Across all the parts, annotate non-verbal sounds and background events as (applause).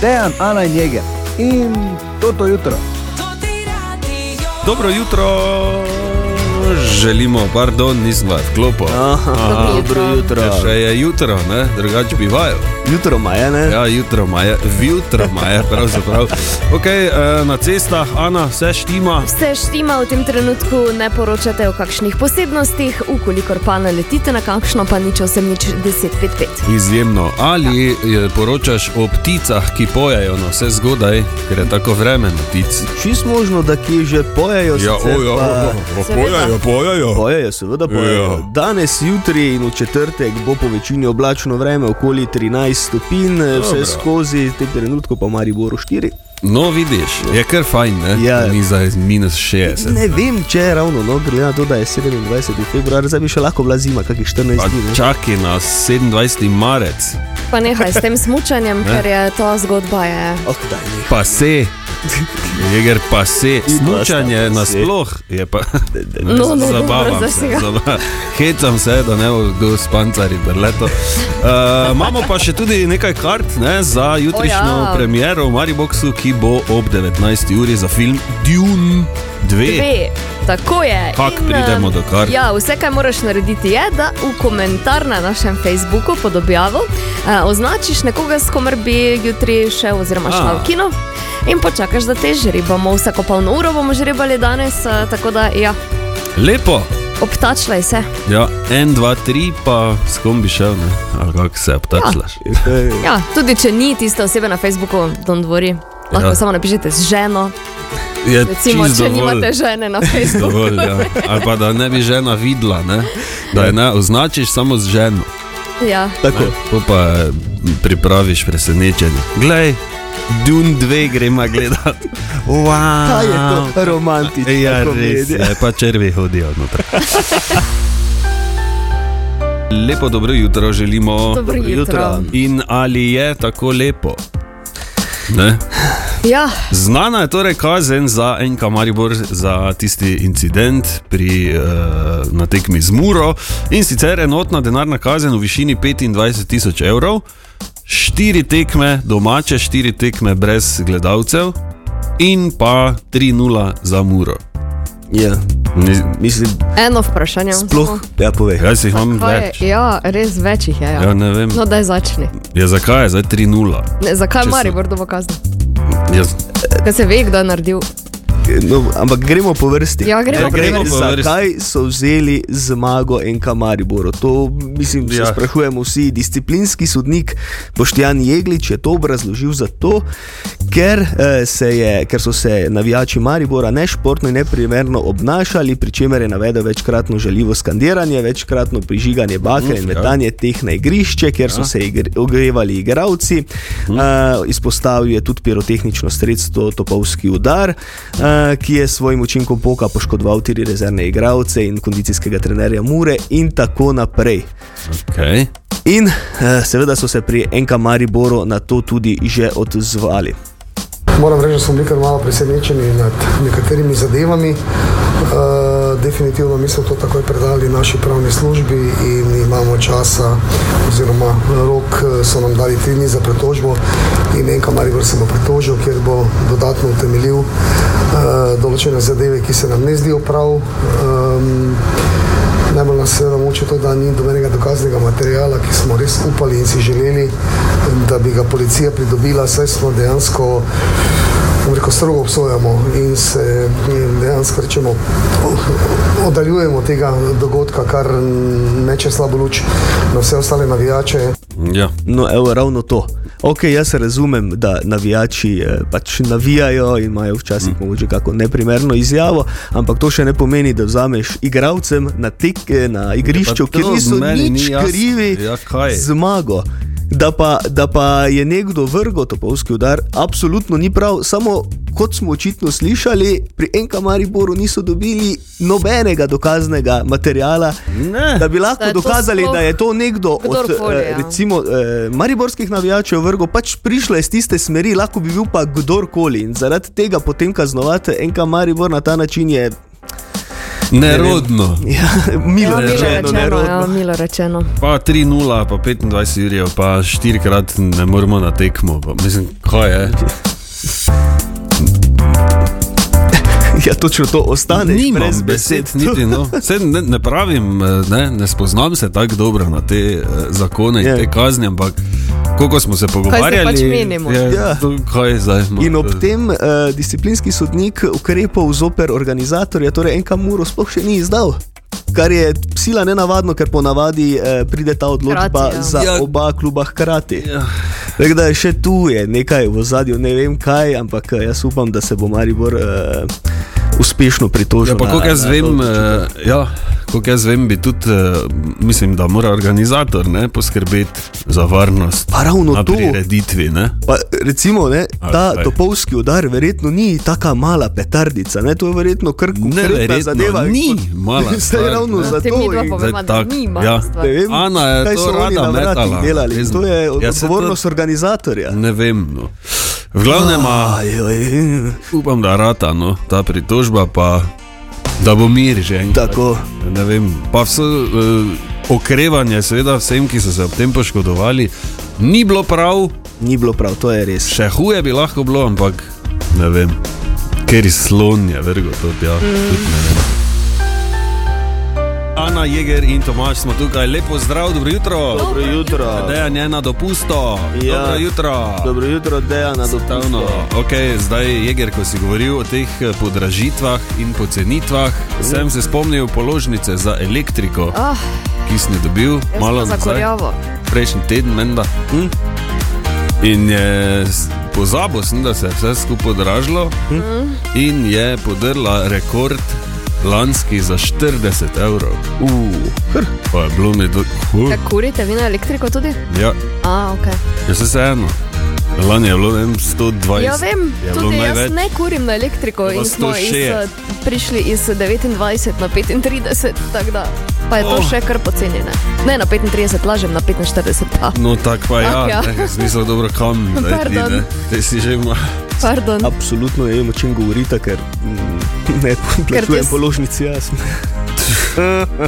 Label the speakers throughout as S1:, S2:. S1: Dejan, Ana in Jeger in toto jutro.
S2: Dobro jutro. Želimo, pardon, nisem ga vklopil.
S3: Aha, dobro jutro.
S2: Ker Ja, Še je jutro, ne? drugače bi vajal.
S3: Jutro ma je, ne?
S2: Ja, jutro ma je, jutro ma
S3: (laughs)
S2: je, pravzaprav. Okay, eh, na cestah, Ana, vse štima.
S4: Vse štima v tem trenutku, ne poročate o kakšnih posebnostih, ukolikor pa naletite na kakšno, pa nič 8, nič 10, 5, 5.
S2: Izjemno. Ali eh, poročaš o pticah, ki pojejo na vse zgodaj, ker je tako vreme na ptic.
S3: Čist možno, da ki že
S2: Ja,
S3: pojejo, sicer pa-
S2: pojejo, pojejo.
S3: Pojejo, seveda pojejo.
S2: Ja.
S3: Danes, jutri in v četrtek bo po večini oblačno vreme, okoli 13 stopinj, eh,
S2: Dobro.
S3: vse skozi, v tem trenutku pa Mariboru 4.
S2: No, vidiš, je kar fajn, ne?
S3: Ja.
S2: Ni za minus 60.
S3: Ne vem, če je ravno, no, glede na to, da je 27. februar, zdaj bi še lahko bila zima, kakih 14
S2: Pa
S3: dni. ne.
S2: čakaj nas 27. marec,
S4: Pa nehaj s tem smučanjem, ker je ta zgodba je.
S3: Oh, daj, nehaj.
S2: pa se. Jeger pa se, smučanje
S3: basta, se.
S2: nasploh je pa
S4: no, dobro,
S2: zabavam
S4: zdaj
S2: se,
S4: si ga.
S2: zaba- hecam se, da ne bo kdo s pancari brleto. Uh, imamo pa še tudi nekaj kart ne, za jutrišnjo
S4: O ja.
S2: premiero v Mariboku, ki bo ob 19. uri za film Dune 2.
S4: Dve. Tako je.
S2: Kako
S4: In,
S2: pridemo
S4: eh,
S2: do kar?
S4: Ja, vse, kar moraš narediti, je, da v komentar na našem Facebooku pod objavo eh, označiš nekoga, s komer bi jutri šel, oziroma
S2: A.
S4: šel v kino. In počakaš, da te žrebamo. Vsako polno uro bomo žrebali danes, eh, tako da ja,
S2: Lepo.
S4: obtačlaj se.
S2: Ja, en, dva, tri, pa s kom bi šel, ne? ali kako se obtačlaš.
S4: Ja, tudi če ni tiste osebe na Facebooku, don't worry. Lahko ja.
S2: Ja.
S4: samo napišete z ženo.
S2: Ja, je
S4: Recimo,
S2: čisto
S4: če
S2: dovolj.
S4: nimate žene na Facebooku.
S2: Dovolj, ja. Ali pa da ne bi žena videla, ne? da je ne označiš samo z ženo.
S4: Ja.
S3: Tako.
S2: Po pa eh, pripraviš presenečenje. Glej, Dun 2 gremo gledat. Wow.
S3: Kaj je to romantično?
S2: Ja, res je, pa črvi hodijo noter. Lepo dobro jutro želimo.
S4: Dobro jutro.
S2: In ali je tako lepo? Ne?
S4: Ja,
S2: Znana je torej kazen za en kamaribor za tisti incident pri, uh, na tekmi z Muro in sicer enotna denarna kazen v višini 25 tisoč evrov, štiri tekme domače, štiri tekme brez gledalcev in pa 3-0 za Muro.
S3: Ja,
S2: Ne,
S3: mislim,
S4: eno vprašanje.
S3: sploh. Ja, povej.
S2: Jaz jih imam
S4: Kaj,
S2: več.
S4: ja, res več jih je. Ja.
S2: Ja, ne vem,
S4: No, da je začne.
S2: ja, zakaj je zdaj Ja, 3-0.
S4: Ne, zakaj
S2: Če so-
S4: Maribor dobo kazni?
S2: Jaz-
S4: Ker se ve, kdo je naredil.
S3: No, ampak gremo po vrsti.
S4: Ja, gremo Ja, po
S2: gremo vrsti. po vrsti.
S3: Zakaj so vzeli zmago NK Mariboru? To mislim, da
S2: Ja.
S3: ja. sprašujemo vsi. Disciplinski sodnik Boštjan Jeglič je to obrazložil zato, ker, eh, se je, ker so se navijači Maribora nešportno in neprimerno obnašali, pri čemer je navedel večkratno žaljivo skandiranje, večkratno prižiganje bakel in
S2: Uf, ja.
S3: metanje igranje teh na igrišče, kjer so se igr ogrevali igravci. Uh, izpostavil je tudi pirotehnično sredstvo Topovski udar, uh, ki je s svojim učinkom poka poškodoval tri rezervne igravce in kondicijskega trenerja Mure in tako naprej.
S2: Okay.
S3: In uh, seveda so se pri NK Mariboru na to tudi že odzvali.
S5: Moram reči, da smo bili kar malo presenečeni nad nekaterimi zadevami. E, definitivno mi smo to takoj predali naši pravni službi in imamo časa, oziroma rok e, so nam dali tri dni za pretožbo in en kamaribor se bo pretožil, kjer bo dodatno utemeljil e, določene zadeve, ki se nam ne zdijo prav. E, Najbolj nas seveda muči to, da ni dobenega dokaznega materijala, ki smo res upali in si želeli, da bi ga policija pridobila, saj smo dejansko bom rekel, strogo obsojamo in se in dejansko rečemo, oddaljujemo tega dogodka, kar neče slabo luč na vse ostale navijače.
S2: Ja.
S3: No, evo, ravno to. Ok, jaz razumem, da navijači eh, pač navijajo in imajo
S2: Mm.
S3: včasih morda kako neprimerno izjavo, ampak to še ne pomeni, da vzameš igravcem na, tek, eh, na igrišču,
S2: Ja, to
S3: kjer niso
S2: meni ni
S3: nič
S2: jasno.
S3: krivi,
S2: Ja, kaj?
S3: zmago. Da pa, da pa je nekdo vrgo topovski udar, absolutno ni prav, samo kot smo očitno slišali, pri Enka Mariboru niso dobili nobenega dokaznega materijala,
S2: Ne.
S3: da bi lahko
S4: Da je to
S3: dokazali,
S4: sploh
S3: da je to nekdo od
S4: kdorkoli,
S3: eh,
S4: ja.
S3: recimo eh, mariborskih navijačev vrgo pač prišla iz tiste smeri, lahko bi bil pa (laughs) kdorkoli in zaradi tega potem kaznovati enka Maribor na ta način je
S2: Nerodno.
S3: Ja, milo
S4: Ja,
S3: rečeno,
S4: ja,
S3: nerodno.
S4: milo rečeno.
S2: Pa 3-0, pa 25 jurjev, pa 4 krat ne moremo na tekmo. Pa, mislim, kaj je?
S3: (laughs) (laughs) Ja, točno to ostane.
S2: Nimam
S3: brez
S2: besed, niti no. Saj ne, ne pravim, eh, ne, ne spoznam se tako dobro na te eh, zakone in
S3: Ja.
S2: te kazni, ampak koliko smo se pogovarjali,
S4: pač menimo.
S2: je
S3: Ja.
S2: to, kaj je zdaj. no,
S3: In ob
S2: to-
S3: tem uh, disciplinski sodnik ukrepov zoper organizatorja, torej enka muro, sploh še ni izdal. Kar je sila nenavadno, ker ponavadi eh, pride ta odločba
S4: Hkrati, ja.
S3: za
S2: Ja.
S3: oba kluba hkrati.
S2: Ja.
S3: Tako da še tu je nekaj v zadju, ne vem kaj, ampak eh, jaz upam, da se bo Maribor eh, uspešno pritožil.
S2: Ja, pa
S3: na-
S2: koliko jaz
S3: na to
S2: vem,
S3: odločitev.
S2: eh, ja, koliko jaz vem, bi tudi, eh, mislim, da mora organizator ne, poskrbeti za varnost
S3: Pa ravno
S2: na
S3: No, to.
S2: prireditvi. Ne.
S3: Pa, recimo, ne,
S2: Ali
S3: ta
S2: kaj?
S3: topovski udar verjetno ni tako mala petardica, ne, to je verjetno kar konkretna
S2: Neverjetno,
S3: zadeva.
S2: ni
S3: (laughs)
S2: mala
S3: Vse je
S2: stvar,
S3: ravno
S2: ne.
S3: za
S4: Ja, Te
S3: to.
S4: mi dva
S3: in-
S4: povemo,
S2: Zdaj
S4: da
S2: tak,
S4: nima
S2: ja.
S4: stvar.
S3: Ne vem,
S2: Ana je
S3: kaj
S2: to
S3: so oni
S2: rada
S3: na vratih
S2: metala,
S3: delali.
S2: jaz-
S3: To je
S2: ja, se
S3: odgovornost
S2: to-
S3: organizatorja.
S2: Ne vem. No. V glavnem, a,
S3: Ajoj,
S2: upam, da rata no, ta pritožba, pa da bo mir že enkrat.
S3: tako.
S2: Ne vem, pa vse uh, okrevanje, seveda vsem, ki so se ob tem poškodovali, ni bilo prav,
S3: Ni bilo prav, to je res.
S2: še huje bi lahko bilo, ampak ne vem, ker je slon je vrgo to tja. Mm. Ana Jeger in Tomaš smo tukaj, lepo zdrav, dobro jutro.
S3: Dobro jutro.
S2: Dejan je na dopustu,
S3: Ja.
S2: dobro jutro.
S3: Dobro jutro, Dejana,
S2: Enostavno, okay, zdaj je Jeger, ko si govoril o teh eh, podražitvah in pocenitvah, sem se spomnil položnice za elektriko,
S4: Ah,
S2: ki sem jo dobil
S4: jaz
S2: malo
S4: sem za
S2: nazaj, Hm.
S4: korjavo.
S2: prejšnji teden, menda.
S3: Hm.
S2: In je s- pozabil sem, da se je vse skupaj podražilo
S4: Hm.
S2: in je podrla rekord lanski za 40 evrov. Pa je bilo mi do... Huh,
S4: Kaj kurite, vi na elektriko tudi?
S2: ja,
S4: A, ok.
S2: ja se vseeno. Lani je bilo ne vem, 120.
S4: Ja, vem,
S2: je bilo
S4: tudi jaz
S2: največ.
S4: ne kurim na elektriko
S2: Bilo
S4: in smo iz,
S2: 160.
S4: eh, prišli iz 29 na 35, tako da pa je to
S2: Oh.
S4: še kar pocenjeno. Ne na 35, lažem na 45. A,
S2: No, tako pa ja,
S4: Ah, ja.
S2: ja. smisel dobro kam, da ti
S4: Pardon.
S2: ne, te si že ima.
S4: pardon.
S3: Absolutno ne vem, o čem govorite, ker mm, (laughs) ne plačujem ja,
S4: s-
S3: položnici jaz.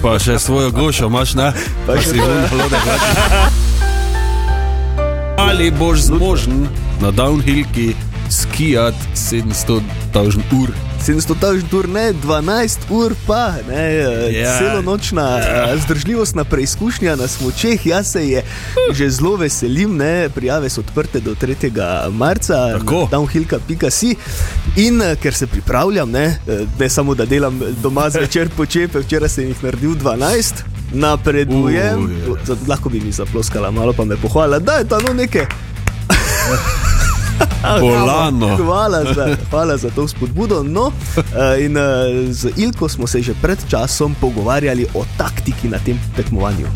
S2: Pa še svojo gošo imaš, ne? Pa si vun plode Ali boš zmožen na downhillki skijat 700 tavžn ur?
S3: 700 tažn tur ne, 12 ur pa, ne,
S2: Ja.
S3: yeah. celonočna eh, zdržljivostna preizkušnja na smočeh. Jaz se je že zelo veselim, ne, prijave so odprte do 3. marca,
S2: Tako.
S3: downhillka.si. In eh, ker se pripravljam, ne, eh, ne samo da delam doma zvečer počepe, včeraj sem jih naredil 12. Napredujem,
S2: Uj. ja.
S3: uh, lahko bi mi zaploskala, malo pa me pohvala, da je to no nekaj.
S2: Polano.
S3: Hvala za, hvala za to spodbudo. No, eh, in eh, z Ilko smo se že pred časom pogovarjali o taktiki na tem tekmovanju.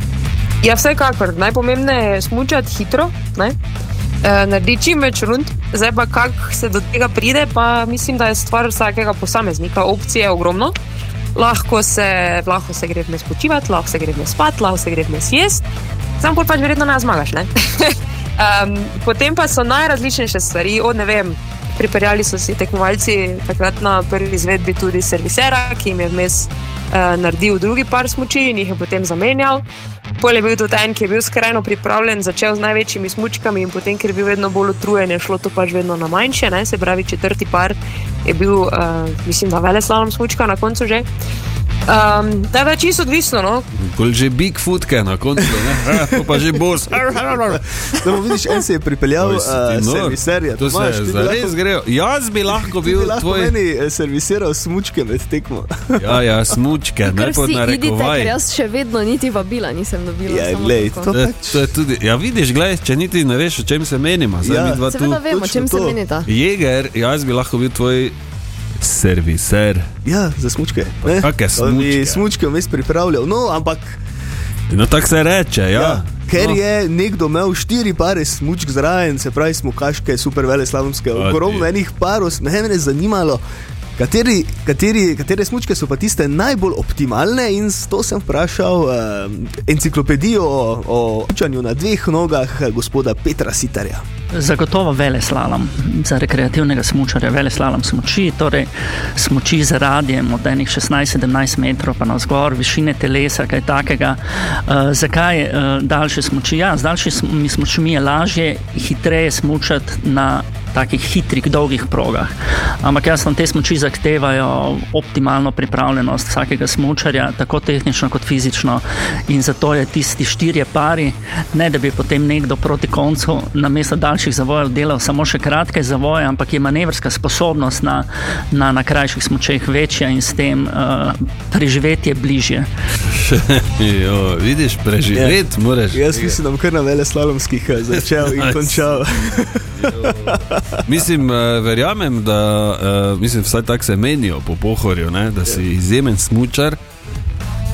S6: Ja, vsekakor. Najpomembneje je smučati hitro, ne? e, narediti čim več rund, zdaj pa kako se do tega pride, pa mislim, da je stvar vsakega posameznika. Opcije je ogromno. Lahko se, lahko se gre vmes počivati, lahko se gre vmes spati, lahko se gre vmes jesti, sam pol pač verjetno ne zmagaš. Ne? (laughs) um, potem pa so najrazličnejše stvari, od ne vem. Pripeljali so si tekmovalci takrat na prvi izvedbi tudi servisera, ki jim je vmes eh, naredil drugi par smoči in jih je potem zamenjal. Pol je bil tudi en, ki je bil skrajno pripravljen, začel z največjimi smočkami in potem, ker je bil vedno bolj utrujen, je šlo to pač vedno na manjše. Ne? Se pravi, četrti par je bil, uh, mislim, da veleslalom smočka na koncu že. Um, da je čisto odvisno, no?
S2: Kol že Bigfootke na koncu, ne? Ja, to pa že bos.
S3: (laughs) Samo vidiš, en se je pripeljal,
S2: Oj, si ti
S3: eh,
S2: nor.
S3: serviserja.
S2: To se
S3: Tomaž, ti bi
S2: zdaj
S3: lahko-
S2: res grejo. Jaz
S3: (laughs)
S2: bi lahko
S3: ti bi
S2: bil
S3: lahko
S2: tvoj.
S3: meni eh, servisiral smučke med tekmo.
S2: (laughs)
S3: (laughs)
S2: Ja, ja, smučke, ne
S4: Ker
S2: pod
S4: vsi idite, ker
S2: narekovaj.
S4: jaz še vedno niti vabila nisem dobila.
S3: Ja,
S4: samo
S3: glej,
S4: tako.
S3: to
S2: To je-
S3: pač.
S2: to je tudi- Ja, vidiš, gledaj, če niti ne veš, o čem se menimo, zdaj
S3: Ja.
S2: mi dva tu.
S4: Seveda vem, o
S3: točno
S4: čem se
S3: to.
S4: menita.
S2: Jeger, ja, jaz bi lahko bil tvoj serviser.
S3: Ja, za smučke. ne.
S2: kake
S3: On bi
S2: smučke?
S3: Smučke vmes pripravljal, no, ampak
S2: No, tako se reče, ja.
S3: Ja,
S2: ja
S3: ker
S2: no.
S3: je nekdo imel štiri pare smučk zraven, se pravi, smo kaške, super vele slavonske,
S2: A,
S3: ogromno
S2: ti.
S3: enih parov, ne me je zanimalo. Kateri, kateri, katere smočke so pa tiste najbolj optimalne, in s to sem vprašal uh, enciklopedijo o, o učanju na dveh nogah eh, gospoda Petra Sitarja.
S7: Zagotovo vele slalom za rekreativnega smočarja, vele slalom smoči, torej smoči z radijem od enih 16-17 metrov pa navzgor, višine telesa, kaj takega. Uh, zakaj uh, daljše smoči? Ja, z daljšimi smočmi je lažje, hitreje smočati na takih hitrih, dolgih progah. Ampak jasno, te smoči zahtevajo optimalno pripravljenost vsakega smočarja, tako tehnično kot fizično. In zato je tisti štirje pari, ne da bi potem nekdo proti koncu na mesto daljših zavojev delal samo še kratke zavoje, ampak je manevrska sposobnost na, na, na krajših smočeh večja in s tem uh, preživetje bližje.
S2: No. Jo, vidiš, preživeti moraš.
S3: Ja. Jaz mislim, da bom kar na vele slalomskih eh, začel in
S2: (laughs) Nice.
S3: končal.
S2: Mislim, eh, verjamem, da eh, mislim, vsaj tako se menijo po pohorju, ne, da
S3: Ja.
S2: si izjemen smočar.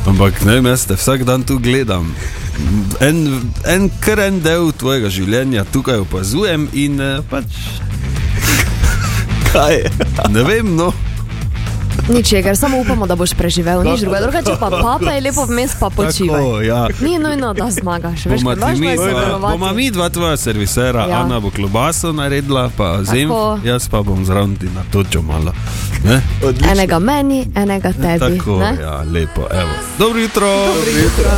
S2: Ampak ne vem, jaz te vsak dan tu gledam. En, en kar en del tvojega življenja tukaj opazujem in eh, pač
S3: Kaj je?
S2: ne vem, no.
S4: Ničegar, samo upamo, da boš preživel, nič drugega. Drugače pa papa je lepo vmes, pa počivaj.
S2: Tako, ja.
S4: Ni nujno, da zmagaš, veš,
S2: Bomo
S4: kaj važno
S2: ti mi
S4: je
S2: dva, bomo
S4: sodelovati.
S2: mi dva tvoja servisera, ja.
S4: Ja.
S2: Ana bo klobaso naredila, pa zim,
S4: Tako.
S2: jaz pa bom zraven ti natočil malo. Ne?
S4: Enega meni, enega tebi.
S2: Tako,
S4: ne?
S2: ja, lepo, evo. Dobro jutro. Dobro jutro.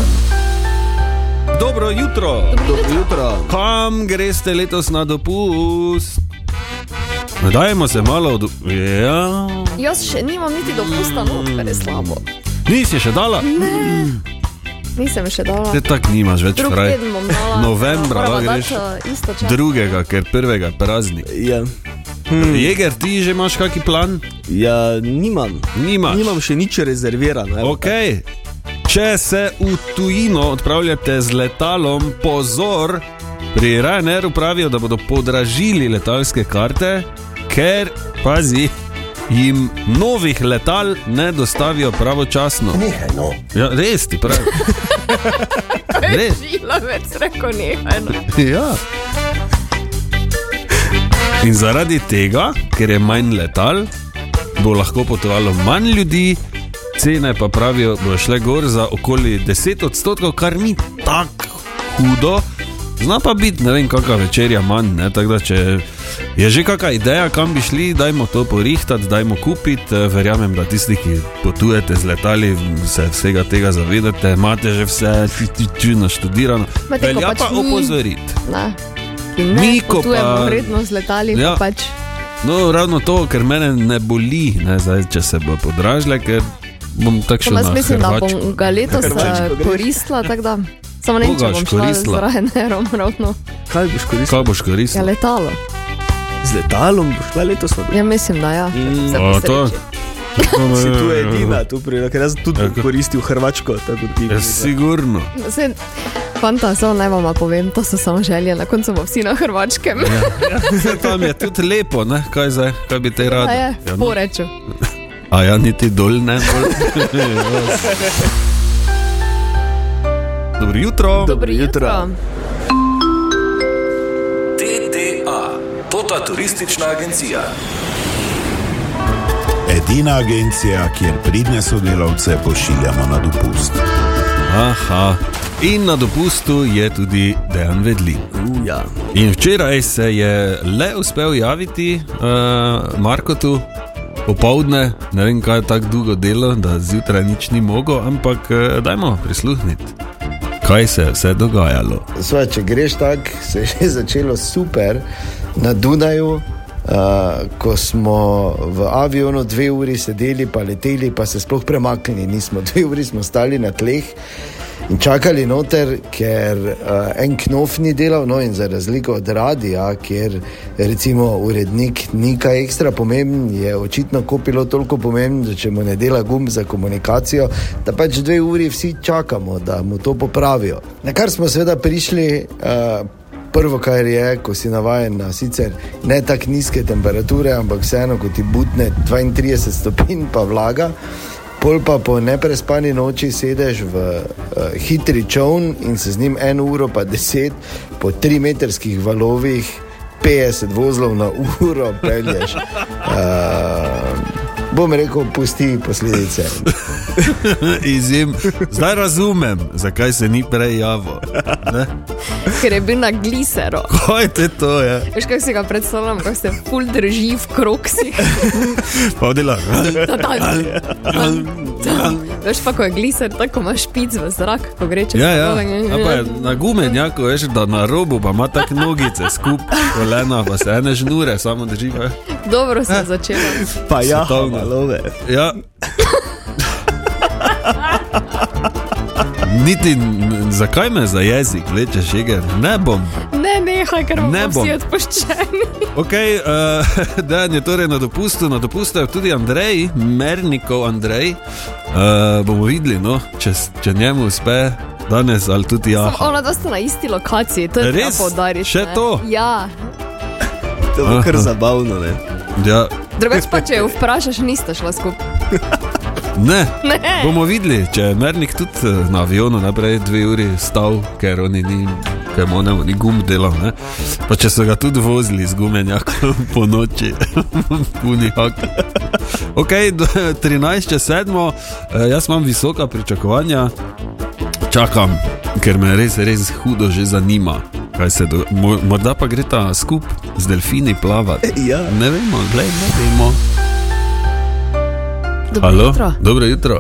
S2: Dobro jutro.
S3: Dobro jutro.
S2: Kam greste letos na dopust? Dajmo se malo od... Ja.
S4: Jaz še nimam niti dopusta, no, kar je slabo.
S2: Nisi še dala?
S4: Nisem še dala.
S2: Te tak nimaš več
S4: Drugi
S2: fraj.
S4: teden bom
S2: (laughs)
S4: dala.
S2: Novembra
S4: Morava
S2: lahko
S4: dati,
S2: greš.
S4: eh, istočasno.
S2: Drugega, ker prvega je praznik.
S3: Ja,
S2: Jeger, ti že imaš kaki plan?
S3: ja nimam.
S2: Nimaš.
S3: Nimam še nič rezervirano. evo.
S2: Ok. Če se v tujino odpravljate z letalom, pozor, pri Rajneru pravijo, da bodo podražili letalske karte, ker, pazi, jim novih letal ne dostavijo pravočasno. Nehaj, no. Ja, res ti pravi. (laughs) res.
S4: Žila več reko nehaj. no.
S2: Ja. In zaradi tega, ker je manj letal, bo lahko potovalo manj ljudi, cene pa pravijo, da bo šle gor za okoli 10 odstotkov, kar ni tako hudo. Zna pa biti, ne vem, kakšna večerja manj. Ne? Tako da, če je že kakšna ideja, kam bi šli, dajmo to porihtati, dajmo kupiti. Eh, Verjamem, da tisti, ki potujete z letali, se vsega tega zavedate, imate že vse, čudno študirano.
S4: Ma te, ko
S2: Velja
S4: pač
S2: pa
S4: ni-
S2: opozoriti.
S4: Ne. Ki ne
S2: Mi, ko
S4: potujemo
S2: pa-
S4: vredno z letali,
S2: Ja.
S4: ja. pač
S2: No, ravno to, ker mene ne boli, ne, zdaj, če se bo podražile, ker bom
S4: Samo
S2: takšen
S4: Jaz mislim, da bom ga letos eh,
S3: Hrvačko greš.
S4: koristila, tako da samo ne vem, če
S2: Koga
S4: bom
S2: boš
S4: šla z
S2: koristila?
S4: Rajnerom ravno.
S3: Kaj boš koristil?
S2: Kaj boš
S4: Ja,
S2: koristil?
S4: letalo.
S3: Z letalom boš šla letos na dopust.
S4: Ja, mislim, da ja. Se
S2: O, to-
S4: posreči.
S3: (laughs) Si tu
S2: Ja,
S3: edina, tu pride, ker jaz tudi bom
S2: Tako.
S3: koristil Hrvačko, tako kot ti.
S2: Ja, sigurno.
S4: Saj, Fanta, samo naj vam povem, to so samo želje, na koncu bomo vsi na Hrvačkem.
S2: Ja.
S4: (laughs)
S2: Saj Tam je tudi lepo, ne? kaj zdaj, kaj bi te
S4: Ja,
S2: radi.
S4: je, v
S2: no.
S4: poreču.
S2: A ja, niti dol ne.
S4: (laughs)
S2: dol. Dobro jutro.
S4: Dobro jutro.
S8: TTA, Tota turistična agencija.
S9: Edina agencija, kjer pridne sodelavce pošiljamo na dopust.
S2: Aha. In na dopustu je tudi Dejan Vedlin.
S3: Ja.
S2: In včeraj se je le uspel javiti uh, Markotu. Popovdne, ne vem, kaj je tako dolgo delo, da zjutraj nič ni mogel, ampak eh, dajmo prisluhniti, kaj se je vse dogajalo.
S10: Sva, če greš tako, se je že začelo super na Dunaju. Uh, ko smo v avionu dve uri sedeli, pa leteli, pa se sploh premaknili, nismo (laughs) dve uri smo stali na tleh in čakali noter, ker uh, en knof ni delal, no in za razliko od radia, kjer recimo urednik ni kaj ekstra pomemben, je očitno kopilo toliko pomemben, da če mu ne dela gum za komunikacijo, da pač dve uri vsi čakamo, da mu to popravijo. Na kar smo seveda prišli. Uh, Prvo, kar je, ko si navaden na sicer ne tako nizke temperature, ampak vseeno, ko ti butne 32 stopinj, pa vlaga, pol pa po neprespani noči sedeš v uh, hitri čovn in se z njim eno uro, pa deset po trimetrskih valovih, 50 vozlov na uro pelješ. Uh, bom rekel, pusti posledice.
S2: Izjem. Zdaj razumem, zakaj se ni prej javil. Ne?
S4: ker je bil na glisero.
S2: Kaj te to je?
S4: Veš, kako si ga predstavljam, kako se ful drži v kroksih. (laughs)
S2: Pa dela.
S4: Veš pa, ko je gliser, tako imaš špic v zrak, ko gre čez
S2: Ja, ja.
S4: tole.
S2: A pa je na gumenjaku veš, da na robu pa ima tako nogice skupaj, kolena pa se ene žnure samo drži. veš.
S4: Dobro se je začelo.
S3: Pa ja,
S2: Svetovno.
S3: malove.
S2: Ja. Niti, n- zakaj me za jezik vlečeš, Eger? Ne bom.
S4: Ne, nehaj, ker
S2: Ne
S4: bomo
S2: bom.
S4: vsi odpuščeni.
S2: Okay, uh, (laughs) Dan je torej na dopustu, na dopustu je tudi Andrej, Mernikov Andrej. Uh, bomo videli, no, če, s- če njemu uspe danes ali tudi ja.
S4: Samo Ona dva sta na isti lokaciji, to je treba
S2: Res?
S4: poudariti.
S2: Še
S4: ne.
S2: to?
S4: Ja.
S3: To je bilo kar zabavno, ne?
S2: ja.
S4: Drugač pa, če jo vprašaš, nista šla skupaj. (laughs)
S2: Ne.
S4: Ne.
S2: (laughs) Bomo videli, če je Mernik tudi eh, na avionu naprej dve uri stal, ker oni ni. Ker mu ni gum delal, ne? pa če so ga tudi vozili z gumenjakom (laughs) po noči, (laughs) puni hak. (laughs) Ok, (laughs) 13.7. Eh, Jaz imam visoka pričakovanja, čakam, ker me res, res hudo že zanima. kaj se do- mo- Morda pa gre ta skup z delfini plavati.
S3: Ja.
S2: Ne vemo, glej, ne vemo.
S4: Dobro
S2: Halo?
S4: jutro.
S2: Dobro jutro.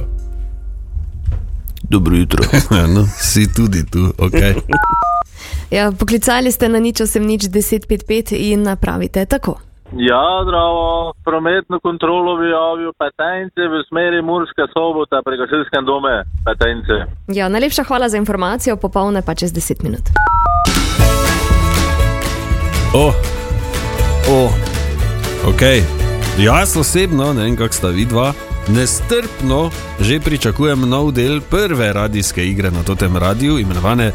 S3: Dobro jutro.
S2: (laughs) Ja, no, si tudi tu, ok.
S4: Ja, poklicali ste na nič 8 nič 1055 in napravite tako.
S11: Ja, zdravo. Prometno kontrolo bi javil Petence v smeri Murska sobota pri gasilskem dome Petence.
S4: Ja, najlepša hvala za informacijo, popolne pa čez 10 minut.
S2: O, o, ok. Jaz osebno, ne vem, kako sta vidva, nestrpno že pričakujem nov del prve radijske igre na tem radiju, imenovane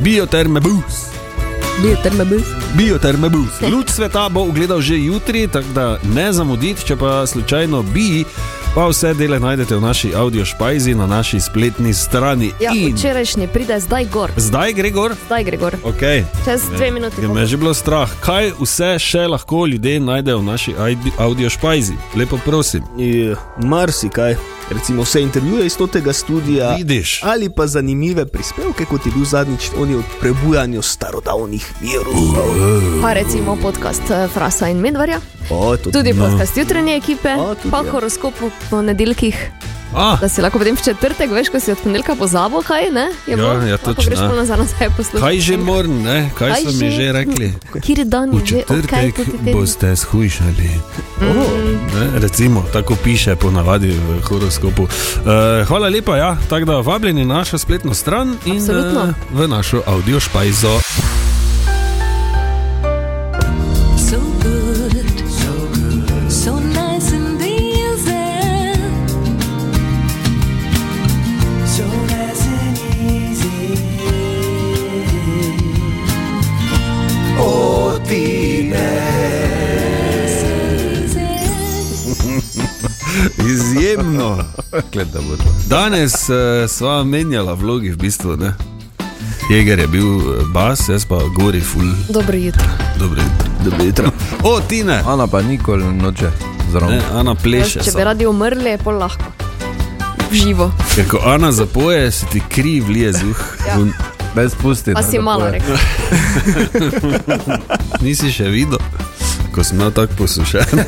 S2: Biotermebus.
S4: Bil terme bil.
S2: Biotermebus. Luč sveta bo ugledal že jutri, tako da ne zamudite, če pa slučajno bi. Pa vse dele najdete v naši audio špajzi na naši spletni strani.
S4: Ja,
S2: In
S4: včerajšnji pride zdaj gor.
S2: zdaj, Gregor,
S4: Zdaj gre gor.
S2: ok.
S4: Čez dve minuti.
S2: Je
S4: bomo.
S2: me je že bilo strah, kaj vse še lahko ljudje najdejo v naši ajdi- audio špajzi. Lepo prosim.
S3: Je Marsikaj, recimo vse intervjuje iz tega studia.
S2: Vidiš.
S3: Ali pa zanimive prispevke, kot je bil zadnjič oni o prebujanju starodavnih virusov.
S4: Pa recimo podcast eh, Frasa in Medvarja,
S3: O, to
S4: tudi
S2: No.
S4: podcast jutranje ekipe,
S3: A, tudi,
S4: pa
S3: ja.
S4: horoskop po ponedeljkih.
S2: Ah,
S4: Da si lahko potem v četrtek, veš, ko si od ponedeljka pozabo, kaj ne? Je
S2: Ja,
S4: bilo?
S2: ja,
S4: Lahko
S2: točno,
S4: Greš
S2: ja.
S4: pa nazaj nazaj poslušati.
S2: kaj že moram, ne? kaj
S4: Kaj
S2: so mi
S4: že?
S2: že rekli?
S4: Kjer dan
S2: V
S4: je že? Od kaj
S2: četrtek
S4: poteka?
S2: boste shujšali. Ne, recimo, tako piše ponavadi v horoskopu. Uh, hvala lepa, ja, tako da vabljeni na našo spletno stran in
S4: Absolutno.
S2: eh, v našo audio špajzo.
S12: So good, so good, so nice in the easy. So nice and easy.
S2: Izjemno. Glej, da bo to. Danes uh, sva menjala vlogi, v bistvu. Ne? Jeger je bil eh, bas, jaz pa gori, ful,
S4: Dobro jutro.
S2: dobro jutro.
S3: Dobro jutro.
S2: O, Tina,
S1: Ana pa nikoli noče
S2: ne,
S1: zraven.
S2: Ana
S4: Veš,
S2: pleše.
S4: če
S2: samo.
S4: bi radi umrli, je pol lahko. V živo.
S2: Ker ko Ana zapoje, se ti kri vlije zuh.
S4: Ja.
S2: Un-
S1: Brez pusti.
S4: Pa
S1: ne,
S4: si
S1: da
S4: malo
S1: poje.
S4: rekel.
S2: Nisi še videl, ko sem imel tako
S4: (laughs)
S2: posušeno.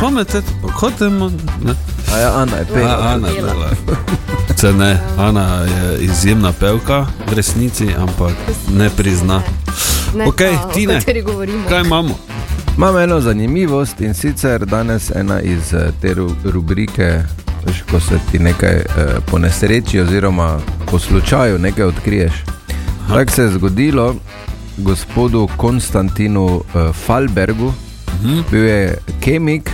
S2: Komete, pohodemo.
S1: A ja, Ana je pela.
S2: Ana je bila. Se ne, Ana je izjemna pevka, v resnici, ampak ne prizna.
S4: Ne,
S2: Okej,
S4: ta,
S2: Tine.
S4: O kateri govorimo.
S2: Kaj imamo?
S1: Imam eno zanimivost in sicer danes ena iz eh, te ru- rubrike, veš, ko se ti nekaj eh, po nesreči oziroma po slučaju nekaj odkriješ. Tako se je zgodilo gospodu Konstantinu eh, Falbergu, bil je kemik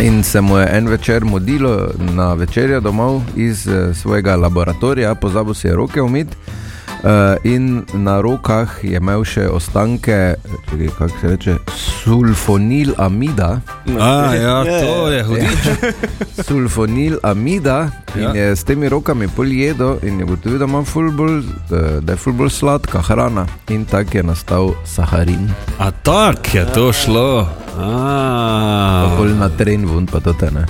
S1: in se mu je en večer mudilo na večerjo domov iz eh, svojega laboratorija, pozabil si je roke umiti. Uh, in na rokah je imel še ostanke, čekaj, kako se reče, sulfonilamida.
S2: A, ja, to je hudič.
S1: Sulfonilamida in
S2: Ja.
S1: ja. je s temi rokami poljedo in je gotovil, da, ima ful bolj, eh, da je fulbol sladka hrana. In tako je nastal saharin.
S2: A tak je to šlo. Ah.
S1: Bolj na tren, vun pa to te ne.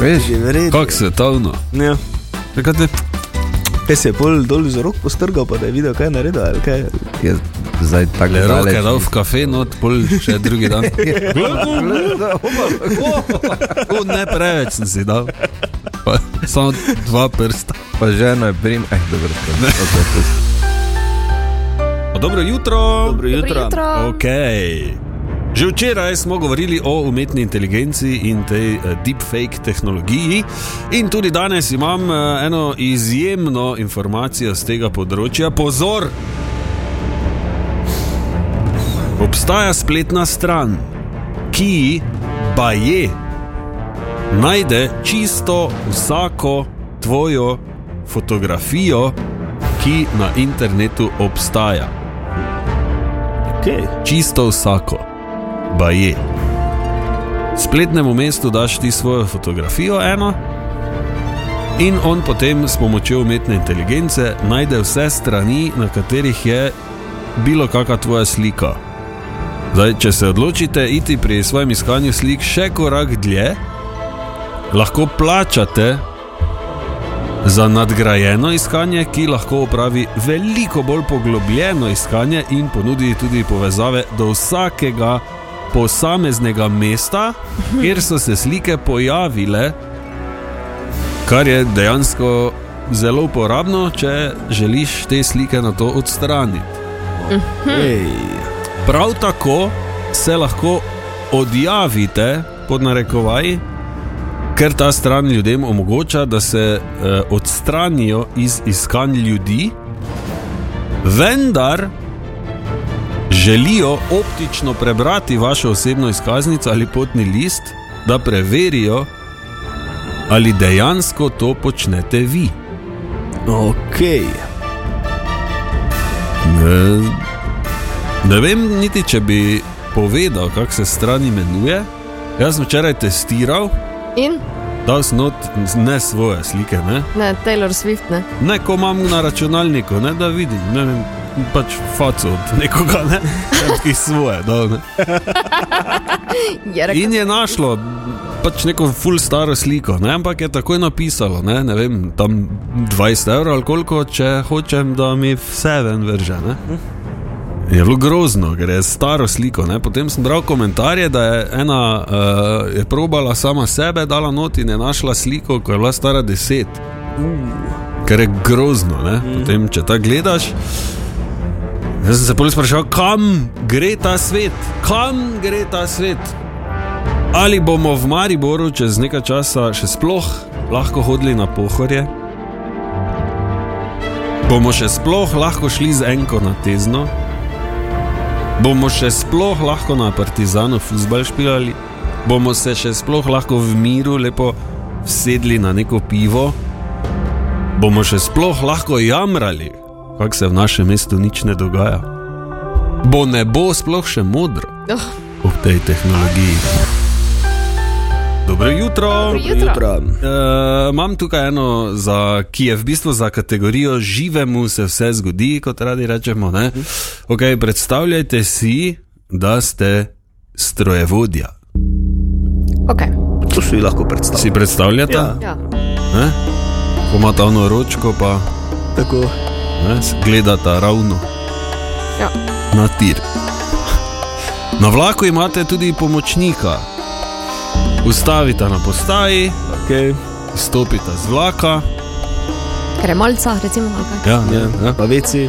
S2: Veš, kako svetovno.
S3: Ja.
S2: Kaj te?
S3: Kaj se je pol dol z rok postrgal, pa da je videl, kaj je naredil, ali kaj?
S1: Jaz zdaj tako
S2: Le roke
S1: daleč
S2: dal v kafe, no, pol še drugi dan. O, ne preveč sem si dal. Pa, samo dva prsta.
S1: Pa ženo je prim, eh, dobro.
S2: Dobro jutro. Dobro
S12: jutro. jutro.
S2: Okay. Že včeraj smo govorili o umetni inteligenci in tej eh, deepfake tehnologiji, in tudi danes imam eh, eno izjemno informacijo z tega področja. Pozor! Obstaja spletna stran, ki pa je najde čisto vsako tvojo fotografijo, ki na internetu obstaja. Okay. Čisto vsako, pa je. Spletnemu mestu daš ti svojo fotografijo, eno, in on potem s pomočjo umetne inteligence najde vse strani, na katerih je bilo kakšna tvoja slika. Zdaj, če se odločite iti pri svojem iskanju slik še korak dlje, lahko plačate za nadgrajeno iskanje, ki lahko opravi veliko bolj poglobljeno iskanje in ponudi tudi povezave do vsakega posameznega mesta, kjer so se slike pojavile, kar je dejansko zelo uporabno, če želiš te slike na to odstraniti. Ej. Prav tako se lahko odjavite pod narekovaji, ker ta stran ljudem omogoča, da se eh, odstranijo iz iskanj ljudi, vendar želijo optično prebrati vašo osebno izkaznico ali potni list, da preverijo, ali dejansko to počnete vi.
S3: Ok.
S2: Ne, ne vem niti, če bi povedal, kako se stran imenuje. Jaz sem včeraj testiral,
S4: In?
S2: dal sem not ne svoje slike, ne,
S4: Ne, Taylor Swift ne.
S2: ne ko imam na računalniku, ne, da vidim, ne vem, pač faco od nekoga, ne, (laughs) ki svoje. Dal, ne.
S4: Je rekel,
S2: In je našlo pač neko full staro sliko, ne? ampak je takoj napisalo, ne? ne vem, tam 20 evrov ali koliko, če hočem, da mi vse ven vrže. Ne? Je bilo grozno, ker je staro sliko. Ne? Potem sem bral komentarje, da je ena uh, je probala sama sebe, dala not in je našla sliko, ko je bila stara 10. Ker je grozno, ne? potem če ta gledaš. Jaz sem se prvi sprašal, kam gre ta svet, kam gre ta svet. Ali bomo v Mariboru čez nekaj časa še sploh lahko hodili na pohorje? Bomo še sploh lahko šli z enko na tezno? Bomo še sploh lahko na Partizanu futbal špilali? Bomo se še sploh lahko v miru lepo sedli na neko pivo? Bomo še sploh lahko jamrali, kako se v našem mestu nič ne dogaja? Bo ne bo sploh še modro?
S4: oh,
S2: ob tej tehnologiji. Dobro jutro.
S4: Dobro jutro. Dobro
S2: Uh, imam tukaj eno, za, ki je v bistvu za kategorijo živemu se vse zgodi, kot radi rečemo. Ne? Okay, predstavljajte si, da ste strojevodja.
S4: okay.
S3: To si lahko predstavljate.
S2: Si predstavljate?
S4: ja.
S2: Ne? Ko imate ono ročko, pa
S3: tako.
S2: Ne, s- gledata ravno
S4: Ja.
S2: na tir. Na vlaku imate tudi pomočnika. Ustavite na postaji,
S3: okay.
S2: stopite z vlaka.
S4: Kremalca, recimo. ali kaj?
S2: Ja, ja, ja.
S3: Pa veci.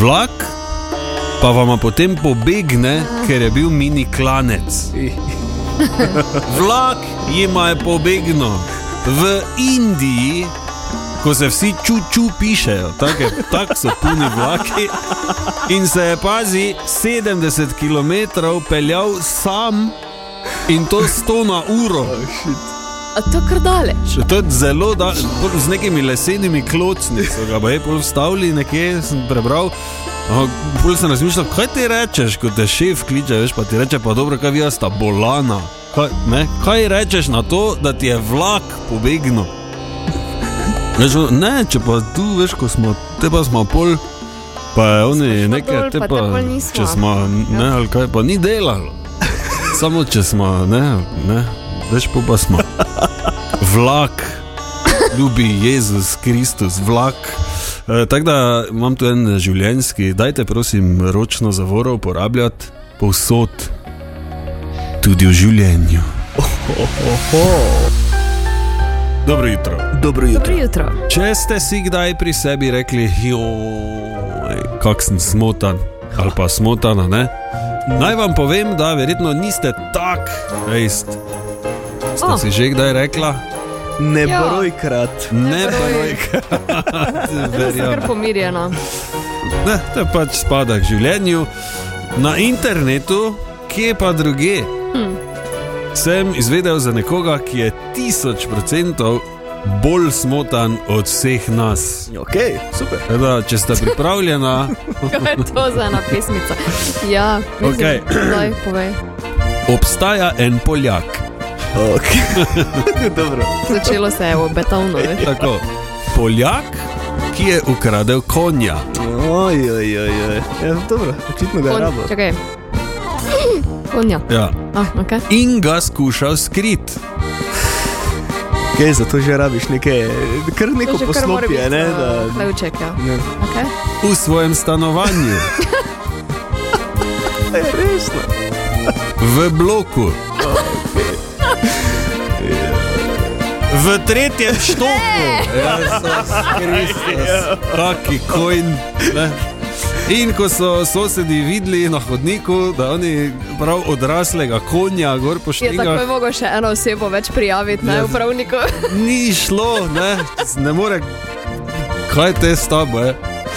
S2: Vlak pa vam potem pobegne, ker je bil mini klanec. Vlak jima je pobegnil v Indiji, ko se vsi čuču pišejo, tako je- tako so puni vlaki. In se je pazi 70 km peljal sam in to 100 na uro.
S4: A to je kar daleč.
S3: (laughs)
S2: Še to je zelo da, bolj z nekimi lesenimi klocni so ga baje pol vstavili, nekje sem prebral. ampak Bolj sem razmišljal, kaj ti rečeš, ko te šef kliče, veš pa ti reče, pa dobro, kaj vi sta bolana. Kaj, ne? kaj rečeš na to, da ti je vlak pobegnil? Veš, o, ne, če pa tu veš, ko smo te pa smo pol. Pa oni nekaj
S4: dol,
S2: te
S4: pa te
S2: pa,
S4: pol nisva.
S2: če smo, ne, ali kaj pa ni delalo. Samo če smo, ne, ne, veš pa pa smo. Vlak, ljubi Jezus Kristus, vlak. E, Tako da imam tu en življenjski, dajte prosim ročno zavoro uporabljati povsod, tudi v življenju. Dobro jutro.
S3: Dobro jutro.
S4: Dobro jutro.
S2: Če ste si kdaj pri sebi rekli, kako sem smotan ali pa smotana, ne? naj vam povem, da verjetno niste tak, rejst. Ste
S12: Oh.
S2: si že kdaj rekla?
S3: Ne
S4: Ja.
S3: brojkrat.
S2: Ne brojkrat.
S4: Zelo sem kar pomirjena.
S2: Ne, to je pač spada k življenju. Na internetu, kje pa druge,
S4: Hm.
S2: sem izvedel za nekoga, ki je tisoč procentov bolj smotan od vseh nas.
S3: Ok, super.
S2: Da, če ste pripravljena,
S4: Kaj je to za ena pesmica? Ja, mislim,
S2: Okej.
S4: (clears throat) daj, povej.
S2: obstaja en Poljak.
S3: Okay. (laughs) Dobro.
S4: Začelo se je obetovno, veš.
S2: Tako, Poljak, ki je ukradel konja.
S3: Oj, oj, oj, oj. Ja, dobro, očitno ga je rabo.
S4: Kon, čakaj. Konja.
S2: Ja.
S4: Ah, okay.
S2: In ga skušal skriti.
S3: Kaj, zato že rabiš neke, kar neko
S4: To že kar mora
S3: poslopje,
S4: biti,
S3: ne?
S4: uh,
S3: Da,
S4: Levček, ja.
S3: ne.
S4: Okay.
S2: v svojem stanovanju.
S3: Ja, Resno.
S2: V bloku. V tretjem štoku. Jezus Kristus. Taki kojn. Ne? In ko so sosedi videli na hodniku, da oni prav odraslega konja gor
S4: Je tako je
S2: pošiljajo,
S4: mogo še eno osebo več prijaviti, ne
S2: Ja.
S4: upravniku. (laughs)
S2: ni šlo, ne, ne more. Kaj te s tabo je?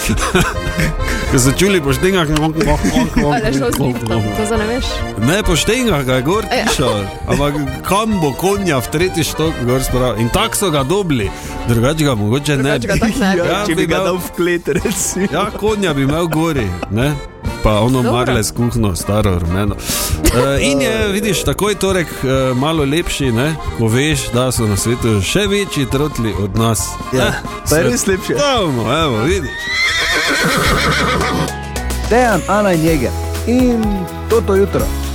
S2: (laughs) Ko so čuli poštinga,
S4: Ali je šlo z liftom, to za ne veš.
S2: Ne poštenja ga je gor
S4: Ja.
S2: tišal, ampak kam bo konja v tretji štok gor spravil. In tako so ga dobili, drugače ga mogoče ne
S4: Drugače ga tako ne bi.
S3: Ja, če bi ga dal v klet, recimo.
S2: Ja, konja bi imel gori, ne? pa ono
S3: Dobro.
S2: marle s kuhno, staro rumeno. E, in
S4: (laughs)
S2: je, vidiš, takoj torek e, malo lepši, ne? ko veš, da so na svetu še večji trotli od nas.
S3: Ja,
S2: Eh,
S3: pa je
S2: svet-
S3: res lepše.
S2: Dajmo, evo, vidiš.
S13: Dejan, Ana in Jeger in toto jutro.